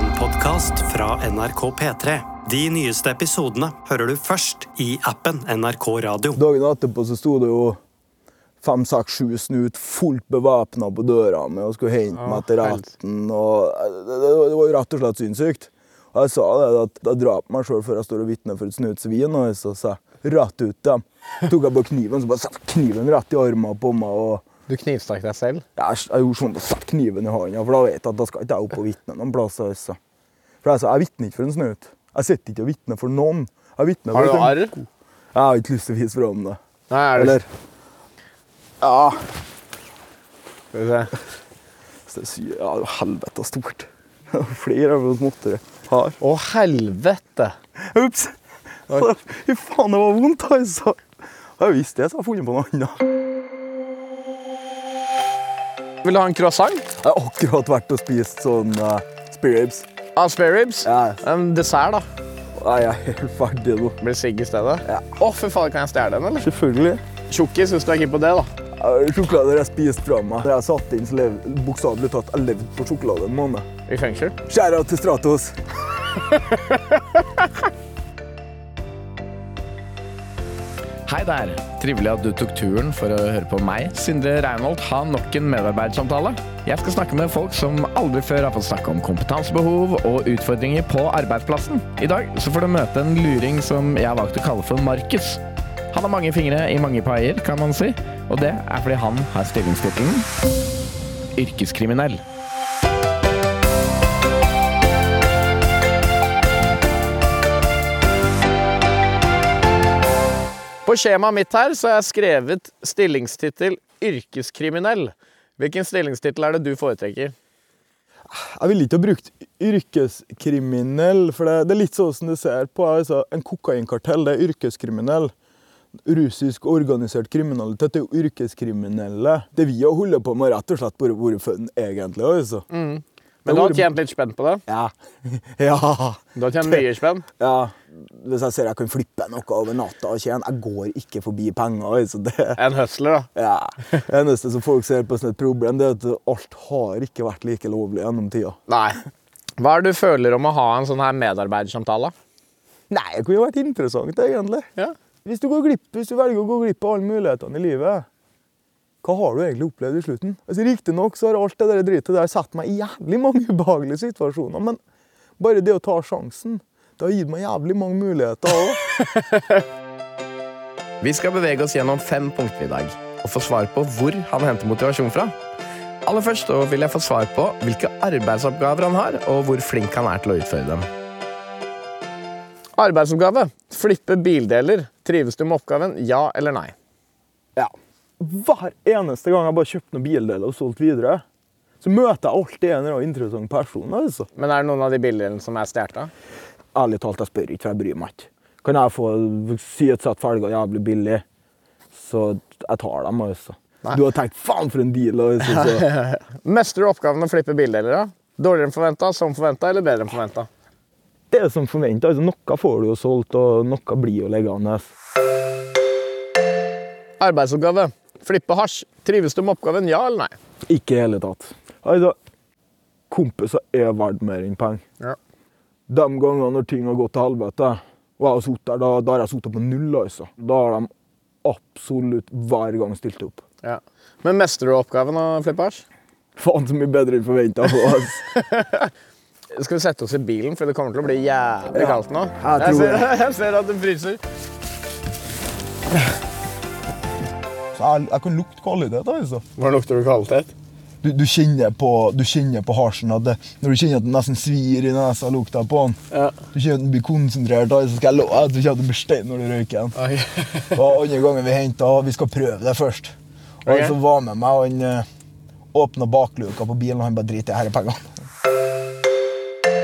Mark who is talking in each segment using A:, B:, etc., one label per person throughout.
A: podkast fra NRK P3. De nyeste episodene hører du først i appen NRK Radio.
B: Dagen etterpå så sto det jo fem, seks, sju snut fullt bevæpna på døra med og skulle hente meg til retten. Og det, det var- det var jo rett og slett sinnssykt. Og jeg sa det at jeg drap meg sjøl før jeg står og vitner for et snutsvin. Og så sa jeg rett ut til dem. Tok jeg bare kniven, så bare satte kniven rett i armen på meg. og
C: Du knivstakk deg selv?
B: jeg, jeg gjorde sånn, da satt kniven i hånda, for da vet jeg at da skal ikke jeg opp og vitne noen plass. Altså. For jeg sa, jeg vitner ikke for en snaut. Jeg sitter ikke og vitner for noen. Jeg vitner
C: Har
B: for
C: du
B: en-
C: arr?
B: Jeg har ikke lyst til å vise fra om det.
C: Nei, er
B: Eller,
C: det
B: ja,
C: Skal vi se.
B: så jeg sier, ja, det var helvete stort. Flere av oss måtte det. Her.
C: Å, helvete!
B: Ups! Fy faen, det var vondt, altså. Jeg visste det, så jeg har funnet på noe annet.
C: Vil du ha en croissant?
B: Jeg har akkurat vært og spist sånn uh, spirits.
C: Av spareribs?
B: Ja.
C: En dessert, da.
B: Jeg er helt ferdig nå.
C: Blir det sigg i stedet?
B: Ja.
C: Å, fy faen, kan jeg stjele den, eller?
B: Selvfølgelig.
C: Tjukkis, hvis du er keen på det, da.
B: Eh, Sjokolader jeg spiste fra meg. Da jeg satt inn, så lev, bokstavelig talt, jeg levde på sjokolade en måned.
C: I fengsel.
B: Skjæra til Stratos.
C: Hei der! Trivelig at du tok turen for å høre på meg. Sindre Reinholt har nok en medarbeidersamtale. Jeg skal snakke med folk som aldri før har fått snakke om kompetansebehov og utfordringer på arbeidsplassen. I dag så får du møte en luring som jeg har valgt å kalle for Markus. Han har mange fingre i mange paier, kan man si. Og det er fordi han har stillingstittelen yrkeskriminell. På skjemaet mitt her så har jeg skrevet stillingstittel yrkeskriminell. Hvilken stillingstittel er det du foretrekker?
B: Jeg ville ikke ha brukt yrkeskriminell, for det, det er litt sånn som du ser på. Altså, en kokainkartell det er yrkeskriminell. Russisk organisert kriminalitet er jo yrkeskriminelle. Det vi har holdt på med, har rett og slett bare vært fun, egentlig. altså.
C: Men du har tjent litt spenn på det?
B: Ja. ja.
C: Du har tjent mye spenn?
B: ja. Hvis jeg ser jeg kan flippe noe over natta og tjene Jeg går ikke forbi penger. altså. Det,
C: En hustler, da.
B: Ja. Det eneste som folk ser på som et problem, det er at alt har ikke vært like lovlig gjennom tida.
C: Nei. Hva er det du føler om å ha en sånn her medarbeidersamtale?
B: Nei, det kunne jo vært interessant, egentlig.
C: Ja.
B: Hvis du, går glipp, hvis du velger å gå glipp av alle mulighetene i livet, hva har du egentlig opplevd i slutten? Altså, Riktignok har alt det der dritet der satt meg i jævlig mange ubehagelige situasjoner, men bare det å ta sjansen, det har gitt meg jævlig mange muligheter òg.
C: Vi skal bevege oss gjennom fem punkter i dag og få svar på hvor han henter motivasjon fra. Aller først så vil jeg få svar på hvilke arbeidsoppgaver han har, og hvor flink han er til å utføre dem. Arbeidsoppgave. Flippe bildeler. Trives du med oppgaven? Ja eller nei?
B: Ja. Hver eneste gang jeg bare kjøpte noen bildeler og solgte videre, så møter jeg alltid en eller annen interessant person. altså.
C: Men er det noen av de bildelene som er stjålet?
B: Ærlig talt, jeg spør ikke, for jeg bryr meg ikke. Kan jeg få sy et sett felger jævlig billig, så jeg tar dem, altså. Du har tenkt 'faen, for en deal', altså. Så.
C: Mestrer du oppgaven å flippe bildeler? da? Dårligere enn forventa, som forventa eller bedre enn forventa?
B: Det er som forventa. Altså, noe får du jo solgt, og noe blir jo liggende.
C: Arbeidsoppgave. Flippe hasj. Trives du med oppgaven? Ja eller nei?
B: Ikke i hele tatt. Altså, kompiser er verdt mer enn penger.
C: Ja.
B: De gangene når ting har gått til helvete, og jeg har sittet der, da, da har jeg sittet på null, altså. Da har de absolutt hver gang stilt opp.
C: ja. Men mestrer du oppgaven å flippe hasj?
B: Faen så mye bedre enn forventa. Altså.
C: Skal vi sette oss i bilen, for det kommer til å bli jævlig kaldt nå.
B: jeg tror
C: ser, jeg ser at det fryser.
B: Jeg, jeg kan lukte kvalitet, altså.
C: Hvordan lukter du kvalitet?
B: Du, du kjenner på, du kjenner på hasjen at det, når du kjenner at den nesten svir i nesa av lukta på den.
C: Ja.
B: Du kjenner at den blir konsentrert, altså, skal jeg love deg at du kjenner at du blir stein når du røyker den.
C: Oi.
B: Og andre gangen vi henta, vi skal prøve det først. Og
C: Ok.
B: Han som var med meg, han eh, åpna bakluka på bilen, og han bare driter i disse pengene.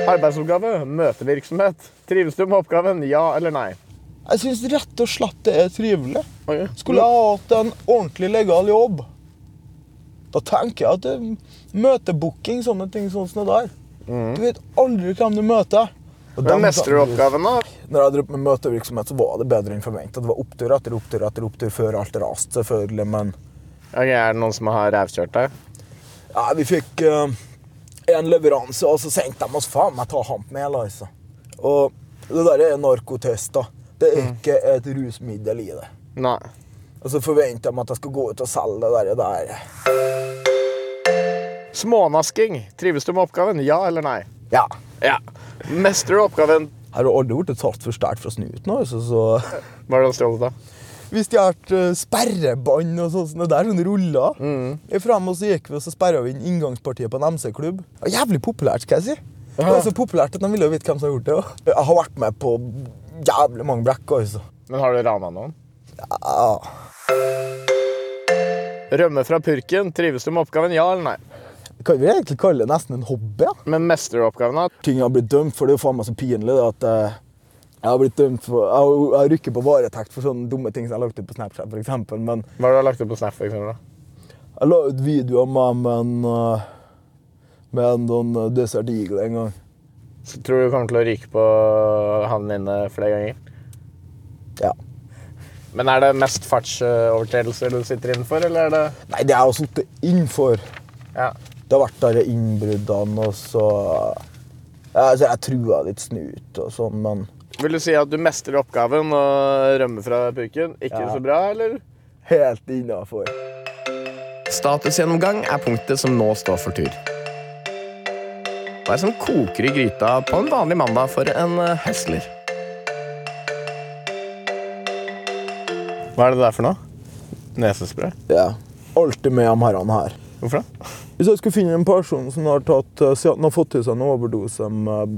C: Arbeidsoppgave, møtevirksomhet. Trives du med oppgaven? Ja eller nei?
B: Jeg syns rett og slett det er trivelig.
C: Oi.
B: Skulle jeg ha hatt en ordentlig legal jobb, da tenker jeg at det- møtebooking, sånne ting sånn som det der Du vet aldri hvem du møter. Og dem-
C: Men mestrer du oppgaven, da?
B: Når jeg drev på med møtevirksomhet, så var det bedre enn forventa. Det var opptur etter opptur etter opptur før alt raste, selvfølgelig, men
C: Ok, er det noen som har rævkjørt deg?
B: Ja, vi fikk eh, en leveranse, og så tenkte de oss faen meg ta han med, altså. Og det der er narkotest, da. Det er ikke et rusmiddel i det.
C: Nei.
B: Og så forventer de at jeg skal gå ut og selge det der. der.
C: Smånasking. Trives du med oppgaven? Ja eller nei?
B: Ja.
C: Ja. Mestrer du oppgaven?
B: Her har aldri blitt tatt for stjålet fra snuten, altså, så
C: Hva er det han stjal, da?
B: Vi stjal eh, sperrebånd og sånt, sånn. Det er sånne ruller. Jeg Frem og så gikk vi og så sperra vi inn inngangspartiet på en MC-klubb. Det var Jævlig populært, skal jeg si. Det var så populært at de ville jo vite hvem som har gjort det. også. Jeg har vært med på jævlig mange blekker, altså.
C: Men har du rana noen?
B: Ja.
C: Rømme fra purken. Trives du med oppgaven? Ja eller nei?
B: Kan vi egentlig kalle det nesten en hobby? Ja?
C: Men mestrer du oppgaven, da?
B: Ting jeg har blitt dømt for, det er jo faen meg så pinlig det at eh, jeg har blitt dømt for, jeg har, jeg har rykket på varetekt for sånne dumme ting som jeg lagt ut på Snapchat, for eksempel, men
C: Hva har du lagt ut på Snap? For eksempel, da?
B: Jeg la ut video av meg med en, eh, med en sånn eh, Desert Eagle en gang.
C: Så Tror du du kommer til å ryke på handen inne flere ganger?
B: Ja.
C: Men er det mest fartsovertredelser du sitter innenfor, eller er det
B: Nei, det er jo sittet innenfor.
C: Ja.
B: Det har vært der innbruddene, og så ja, altså, Jeg trua litt snut og sånn, men
C: Vil du si at du mestrer oppgaven og rømmer fra purken? Ikke
B: Ja.
C: så bra, eller?
B: helt innafor.
D: Statusgjennomgang er punktet som nå står for tur. Hva er det som koker i gryta på en vanlig mandag for en eh, hustler?
C: Hva er det der for noe? Nesespray?
B: Ja. Alltid med de herrene her.
C: Hvorfor det?
B: Hvis jeg skulle finne en person som har, tatt, eh, si at den har fått til seg en overdose med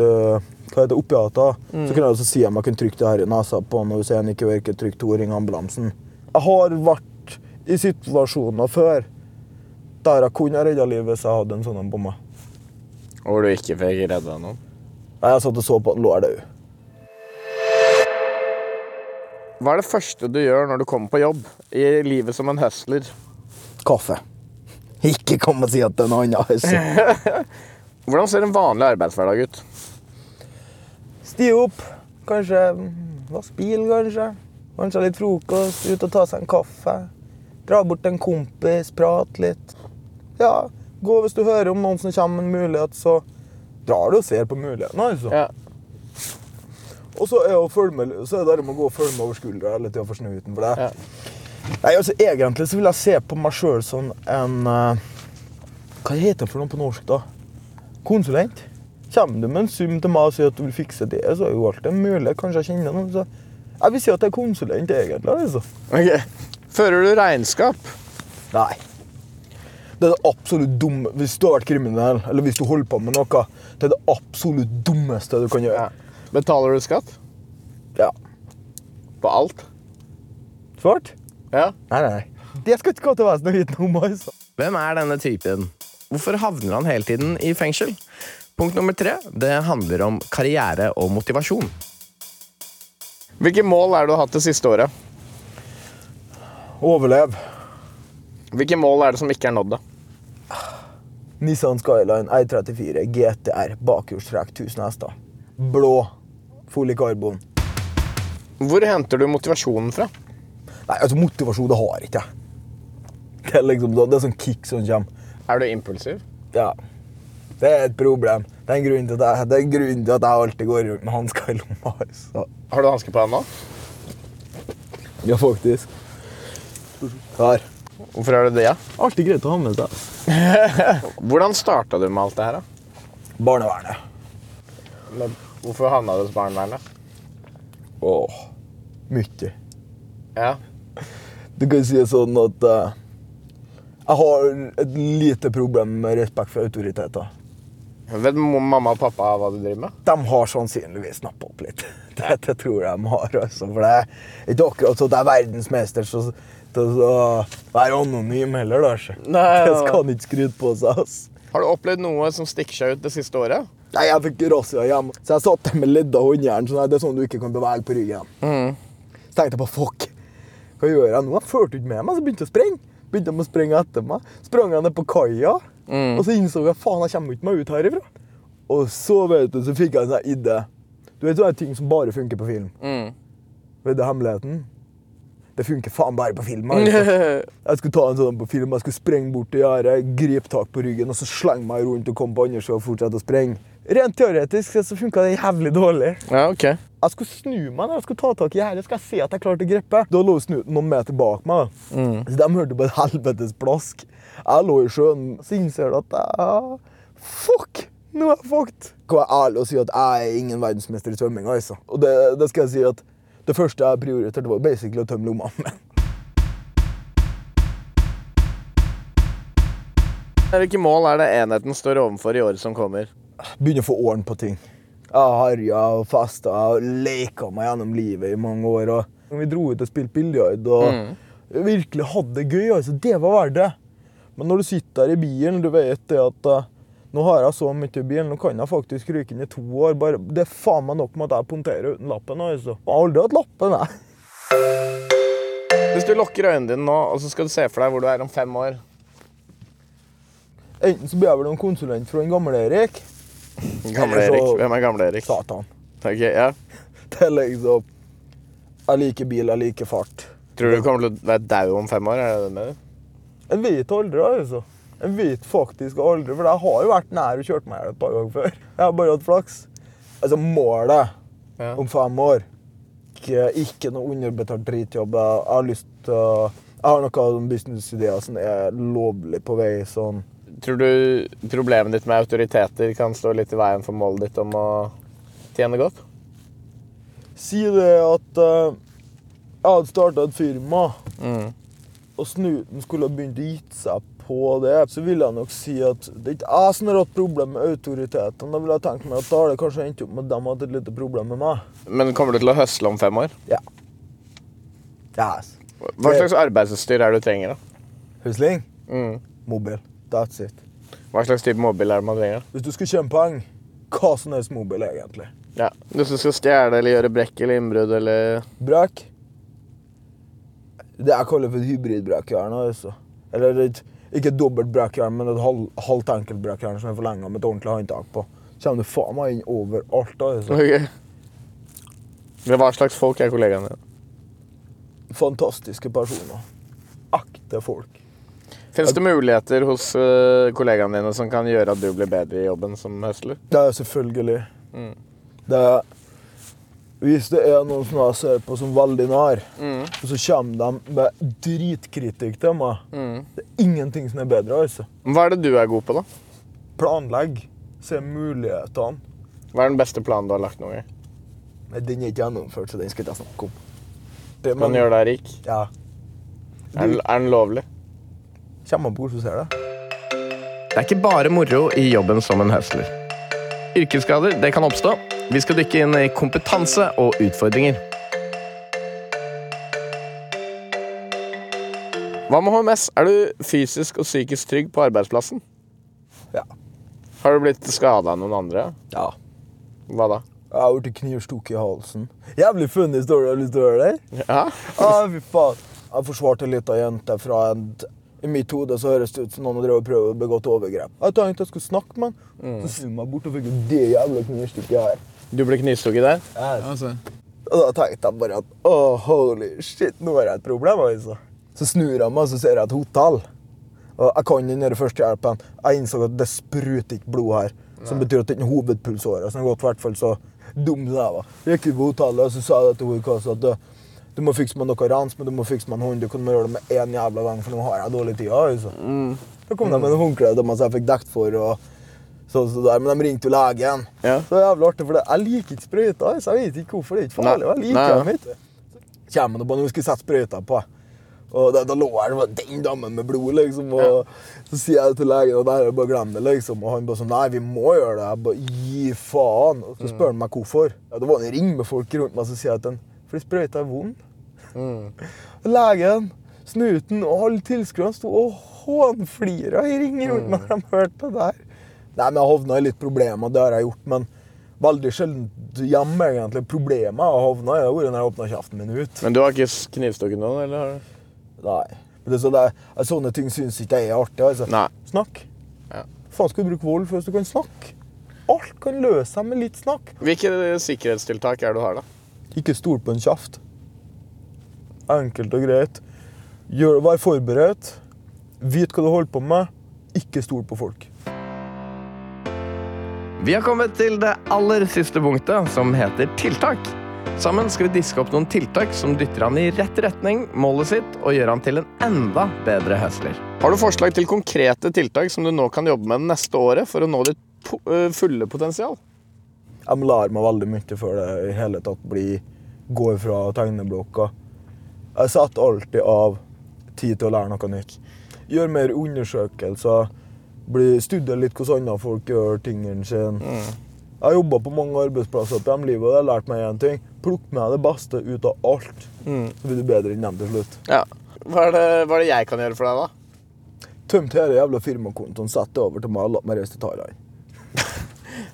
B: eh, hva heter det, opiater, så kunne jeg altså si om jeg kunne trykke det her i nesa på han, og hvis en ikke virker, trykk to, ring ambulansen. Jeg har vært i situasjoner før der jeg kunne ha redda livet hvis jeg hadde en sånn en på meg.
C: Og du ikke fikk redda noen?
B: Nei, Jeg satt og så på at han lå der død.
C: Hva er det første du gjør når du kommer på jobb i livet som en hustler?
B: Kaffe. Ikke kom og si at det er noe annet. altså.
C: Hvordan ser en vanlig arbeidshverdag ut?
B: Sti opp. Kanskje mm, vask bil, kanskje. Kanskje litt frokost. Ut og ta seg en kaffe. Dra bort til en kompis, prate litt. Ja, gå hvis du hører om noen som kommer med en mulighet, så drar du og ser på muligheten. altså.
C: Ja.
B: Og så er, å følge med, så er det det med å gå og følge med over skuldra hele tida for snuten. For det. Nei, altså, egentlig så vil jeg se på meg sjøl som en eh, Hva heter det for noe på norsk, da? Konsulent. Kommer du med en sum til meg og sier at du vil fikse det, så er jo alt det mulig. Kanskje jeg kjenner noen. Så jeg vil si at jeg er konsulent, egentlig. altså.
C: Ok. Fører du regnskap?
B: Nei. Det er det absolutt dumme Hvis du har vært kriminell, eller hvis du holder på med noe, det er det absolutt dummeste du kan gjøre.
C: Betaler du skatt?
B: Ja.
C: På alt?
B: Svart?
C: Ja.
B: Nei, nei, nei. Det skal ikke gå til vesenet å vite noe om. altså.
D: Hvem er denne typen? Hvorfor havner han hele tiden i fengsel? Punkt nummer tre det handler om karriere og motivasjon.
C: Hvilke mål er det du har hatt det siste året?
B: Overlev.
C: Hvilke mål er det som ikke er nådd? da?
B: Nissan Skyline R34 GTR bakhjulstrekk 1000 hester. Blå. Full i karbon.
C: Hvor henter du motivasjonen fra?
B: Nei, altså motivasjon det har jeg ikke jeg. Det er liksom det er sånn kick som kommer.
C: Er du impulsiv?
B: Ja. Det er et problem. Det er en grunn til at jeg, det er en grunn til at jeg alltid går rundt med hansker i lomma. altså.
C: Har du hanske på deg nå?
B: Ja, faktisk. Her.
C: Hvorfor har du det?
B: Alltid greit å ha med seg.
C: Hvordan starta du med alt det her? da?
B: Barnevernet.
C: Men Hvorfor havna du hos barnevernet?
B: Åh. Mye.
C: Ja.
B: Du kan si det sånn at eh, jeg har et lite problem med respekt for autoriteter.
C: Vet mo- mamma og pappa hva du driver med?
B: De har sannsynligvis snappa opp litt. Det, det tror jeg de har. Altså, for det er ikke akkurat så at det er verdensmester så, til å være anonym heller. Da. altså.
C: Nei,
B: det
C: nei,
B: skal han ikke skryte på seg. ass.
C: Har du opplevd noe som stikker seg ut det siste året?
B: Nei, Jeg fikk razzia hjemme, så jeg satt der med ledda håndjern. Sånn, her, det er sånn du ikke kan bevege på ryggen. Så tenkte jeg på fuck, hva gjør jeg nå? Jeg fulgte ikke med meg, så begynte jeg å sprenge. Begynte de å sprenge etter meg. Sprang jeg ned på kaia, og så innså jeg faen, jeg kommer ikke meg ut herifra. Og så vet du, så fikk jeg en sånn idé. Du vet sånne ting som bare funker på film? Vet du hemmeligheten? Det funker faen bare på film. Altså. Jeg skulle ta en sånn på film, jeg skulle sprenge bort til gjerdet, gripe tak på ryggen og så slenge meg rundt og komme på andre sida og fortsette å sprenge. Rent teoretisk så funka det jævlig dårlig.
C: Ja, ok.
B: Jeg skulle snu meg når jeg skulle ta tak i gjerdet. Skal jeg se at jeg klarte å gripe? Da lå snuten noen meter bak meg. da. Så de hørte på et helvetes plask. Jeg lå i sjøen, så innser du at jeg Fuck! Nå er jeg fucked. Kan jeg ærlig og si at jeg er ingen verdensmester i svømming. altså. Og det, det skal jeg si at det første jeg prioriterte, var basically å tømme lomma. Men
C: Hvilke mål er det enheten står overfor i året som kommer?
B: begynner å få orden på ting. Jeg har harja og festa og leka meg gjennom livet i mange år. Og vi dro ut og spilte biljard og virkelig hadde det gøy. altså Det var verdt det. Men når du sitter her i bilen, du vet det at eh, nå har jeg så mye i bilen, nå kan jeg faktisk ryke inn i to år. Bare, det er faen meg nok med at jeg punkterer uten lappen. altså. Jeg har aldri hatt lappen, jeg.
C: Hvis du lukker øynene dine nå, og så skal du se for deg hvor du er om fem år
B: Enten så blir jeg vel en konsulent fra den gamle Erik.
C: Gamle
B: Eller så-
C: Erik. Hvem er gamle Erik?
B: Satan.
C: Ok, ja.
B: Det er liksom Jeg liker bil, jeg liker fart.
C: Tror du du kommer til å være dau om fem år? Er det det du mener?
B: En vet aldri, altså. En vet faktisk aldri, for jeg har jo vært nær og kjørt meg i hjel et par ganger før. Jeg har bare hatt flaks. Altså, målet
C: Ja.
B: om fem år Ikke, ikke noe underbetalt dritjobb. Jeg, jeg har lyst til å- Jeg har noen businessidéer som er lovlig på vei sånn
C: Tror du problemet ditt med autoriteter kan stå litt i veien for målet ditt om å tjene godt?
B: Si det at eh, jeg hadde starta et firma,
C: Mm.
B: og snuten skulle ha begynt å gitt seg på det, så ville jeg nok si at det er ikke jeg som har hatt problem med autoriteten. Da ville jeg tenkt meg at da har det kanskje endt opp med at de hadde et lite problem med meg.
C: Men kommer du til å høsle om fem år?
B: Ja. Yes.
C: Hva slags arbeidsutstyr er det du trenger? da?
B: Husling?
C: Mm.
B: Mobil. That's it.
C: Hva slags type mobil er det man trenger? da?
B: Hvis du skal tjene penger, hva som helst mobil, egentlig.
C: Ja. Hvis du skal stjele eller gjøre brekk eller innbrudd eller
B: Brak. Det jeg kaller for et hybridbrakjern. Altså. Eller et, ikke et dobbelt brakjern, men et halv, halvt enkelt brakjern som er forlenga med et ordentlig håndtak på. Kommer du faen meg inn overalt. Altså.
C: Ok. Men hva slags folk er kollegaene dine?
B: Fantastiske personer. Ekte folk.
C: Fins det muligheter hos øh, kollegaene dine som kan gjøre at du blir bedre i jobben som høsler?
B: Det er selvfølgelig. Det er, hvis det er noen som jeg ser på som veldig nær, og så kommer de med dritkritikk til meg Det er ingenting som er bedre. altså.
C: Hva er det du er god på, da?
B: Planlegg. Se mulighetene.
C: Hva er den beste planen du har lagt noen gang?
B: Nei, Den er ikke gjennomført, så den skal ikke jeg snakke om. Det,
C: Kan du gjøre deg rik?
B: Ja.
C: Er den, er den lovlig?
B: Kommer man på hvordan du ser det.
D: Det er ikke bare moro i jobben som en høsler. Yrkesskader det kan oppstå. Vi skal dykke inn i kompetanse og utfordringer.
C: Hva med HMS? Er du fysisk og psykisk trygg på arbeidsplassen?
B: Ja.
C: Har du blitt skada av noen andre?
B: ja.
C: Hva da?
B: Jeg har blitt knivstukket i halsen. Jævlig funny story. Har du lyst til å høre det?
C: Ja?
B: Ah, fy faen. Jeg forsvarte ei lita jente fra en I mitt hode så høres det ut som noen har drevet og prøvd å begå et overgrep. Jeg tenkte jeg skulle snakke med han, så snur jeg meg bort og fikk jo det jævla knivstukket her.
C: Du ble knivstukket der?
B: Yes. Og da tenkte jeg bare at oh, holy shit, nå har jeg et problem. altså. Så snur jeg meg og så ser jeg et hotell. Og jeg kan den der førstehjelpen. Jeg innså at det spruter ikke blod her. Som betyr at det ikke er hovedpulsåra som har gått. i hvert fall så dum som jeg var. Jeg gikk ut på hotellet og så sa jeg til hun i kassa at eh, du må fikse meg noe rens, men du må fikse meg en hånd. Du kan gjøre det med én jævla gang, for nå har jeg dårlig tid. altså. Da kom de med en håndkle til meg som jeg fikk dekt for. og sånn som det der, Men de ringte jo legen.
C: Ja.
B: Så det er jævlig artig, for det- jeg liker ikke sprøyter. altså. Jeg vet ikke hvorfor. Det er ikke farlig.
C: Nei.
B: Jeg
C: Nei,
B: liker
C: ja.
B: dem ikke. Så kommer det på når vi skulle sette sprøyta på. Og da, da lå jeg der med den damen med blod, liksom. Og så sier jeg til legen at jeg bare glem det, liksom. Og han bare sånn Nei, vi må gjøre det. Jeg bare gi faen. Og så spør han meg hvorfor. Ja, det var en ring med folk rundt meg, så sier jeg til han fordi sprøyta er vond. Legen, snuten og alle tilskuerne sto og hånflira i ring rundt meg når de hørte det der. Nei, men Jeg havna i litt problemer, det har jeg gjort, men veldig sjelden hjemme, egentlig. Problemet jeg har havna i, det har vært når jeg åpna kjeften min ut.
C: Men du har ikke s- knivstukket noen? eller har du?
B: Nei. Men det er så det, er- sånne ting syns ikke jeg er artig. altså.
C: Nei.
B: Snakk.
C: Ja.
B: Faen skal du bruke vold før du kan snakke? Alt kan løse seg med litt snakk.
C: Hvilke sikkerhetstiltak er det du har, da?
B: Ikke stol på en kjeft. Enkelt og greit. Gjør, vær forberedt. Vit hva du holder på med. Ikke stol på folk.
D: Vi har kommet til det aller siste punktet, som heter tiltak. Sammen skal vi diske opp noen tiltak som dytter han i rett retning, målet sitt, og gjør han til en enda bedre høsler.
C: Har du forslag til konkrete tiltak som du nå kan jobbe med det neste året for å nå ditt po- øh, fulle potensial?
B: Jeg lar meg veldig mye før det i hele tatt blir går fra tegneblokka. Jeg setter alltid av tid til å lære noe nytt. Gjør mer undersøkelser. Bli, studier litt hvordan andre folk gjør tingene sine. Jeg har jobba på mange arbeidsplasser opp gjennom livet, og jeg har lært meg én ting. Plukk med det beste ut av alt, så blir du bedre enn dem til slutt.
C: Ja. Hva er, det, hva er det jeg kan gjøre for deg, da?
B: Tømte hele jævla firmakontoen, sett det over til meg og la meg reise til Thailand.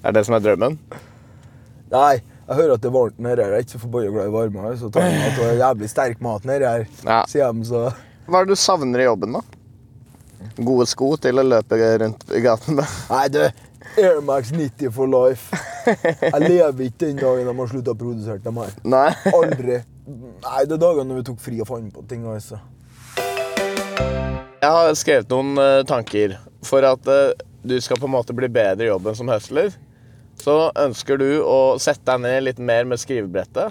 C: Er det som er drømmen?
B: Nei, jeg hører at det er varmt nedi her. Jeg er ikke så forbanna glad i varme her, så tar jeg at det er jævlig sterk mat nedi her.
C: Ja.
B: Sier de, så
C: Hva er det du savner i jobben, da? Gode sko til å løpe rundt i gaten med.
B: Nei, du, Airmax 90 for life. Jeg lever ikke den dagen de har slutta å produsere dem her.
C: Nei.
B: Aldri. Nei, det er dagene når vi tok fri og fant på ting. altså.
C: Jeg har skrevet noen eh, tanker. For at eh, du skal på en måte bli bedre i jobben som høsler, så ønsker du å sette deg ned litt mer med skrivebrettet.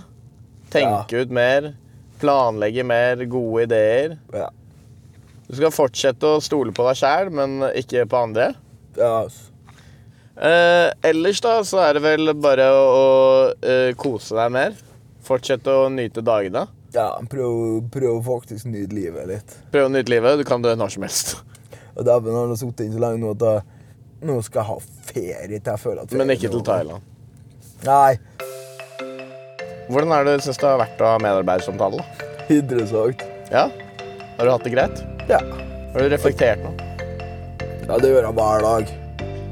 C: Tenke ut mer. Planlegge mer gode ideer.
B: Ja.
C: Du skal fortsette å stole på deg sjæl, men ikke på andre.
B: ja altså.
C: Eh, ellers da, så er det vel bare å, å eh, kose deg mer. Fortsette å nyte dagene.
B: Ja, prøv, prøv faktisk å nyte livet litt.
C: Prøve å nyte livet. Du kan dø når som helst.
B: Og Dæven, jeg har nå sittet inne så lenge nå at jeg, nå skal jeg ha ferie til jeg føler at
C: Men
B: ferien
C: ikke
B: er
C: til
B: over.
C: Thailand.
B: Nei.
C: Hvordan er det synes det har vært å ha medarbeidersamtale? da?
B: Interessant.
C: Ja? Har du hatt det greit?
B: Ja.
C: Har du reflektert nå?
B: ja, det gjør jeg hver dag.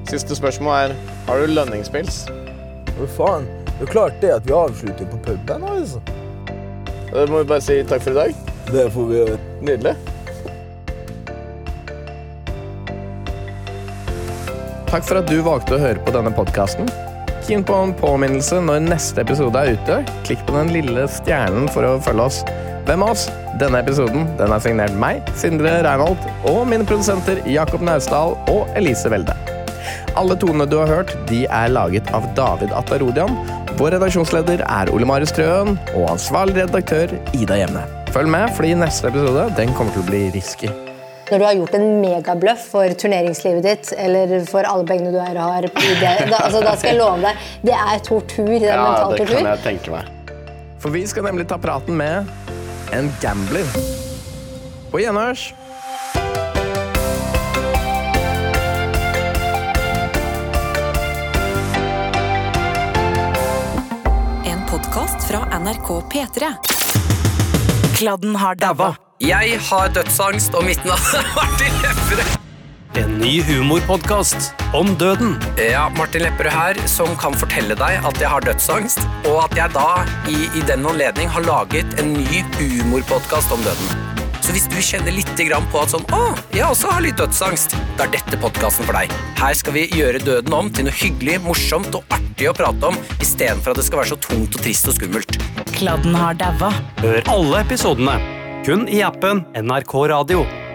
C: Siste spørsmål er Har du lønningspils?
B: Hva faen? Det er klart det at vi avslutter på puben. altså.
C: Da må vi bare si takk for i dag.
B: Det får vi gjøre.
C: Nydelig.
D: Takk for at du valgte å høre på denne podkasten. Keen på en påminnelse når neste episode er ute. Klikk på den lille stjernen for å følge oss. Hvem av oss? Denne episoden den er signert meg, Sindre Reinholt, og mine produsenter Jakob Naustdal og Elise Welde. Alle tonene du har hørt, de er laget av David Atarodian. Vår redaksjonsleder er Ole Marius Trøen, og ansvarlig redaktør Ida Jevne. Følg med, fordi neste episode den kommer til å bli risky.
E: Når du har gjort en megabløff for turneringslivet ditt, eller for alle pengene du er, har i det, da, altså, da skal jeg love deg, det er tortur. Det er mental tortur.
C: jeg tenke meg.
D: For vi skal nemlig ta praten med en gambler. På gjenhørs.
F: En podkast fra NRK P3. Kladden har daua.
G: Jeg har dødsangst, og mitt navn er Martin Lepperød.
A: En ny humorpodkast om døden.
G: Ja, Martin Lepperød her, som kan fortelle deg at jeg har dødsangst, og at jeg da i, i den anledning har laget en ny humorpodkast om døden. Så hvis du kjenner litt grann på at sånn, å, jeg også har litt dødsangst, da er dette podkasten for deg. Her skal vi gjøre døden om til noe hyggelig, morsomt og artig å prate om, istedenfor at det skal være så tungt og trist og skummelt.
F: Kladden har daua.
A: Hør alle episodene kun i appen NRK Radio.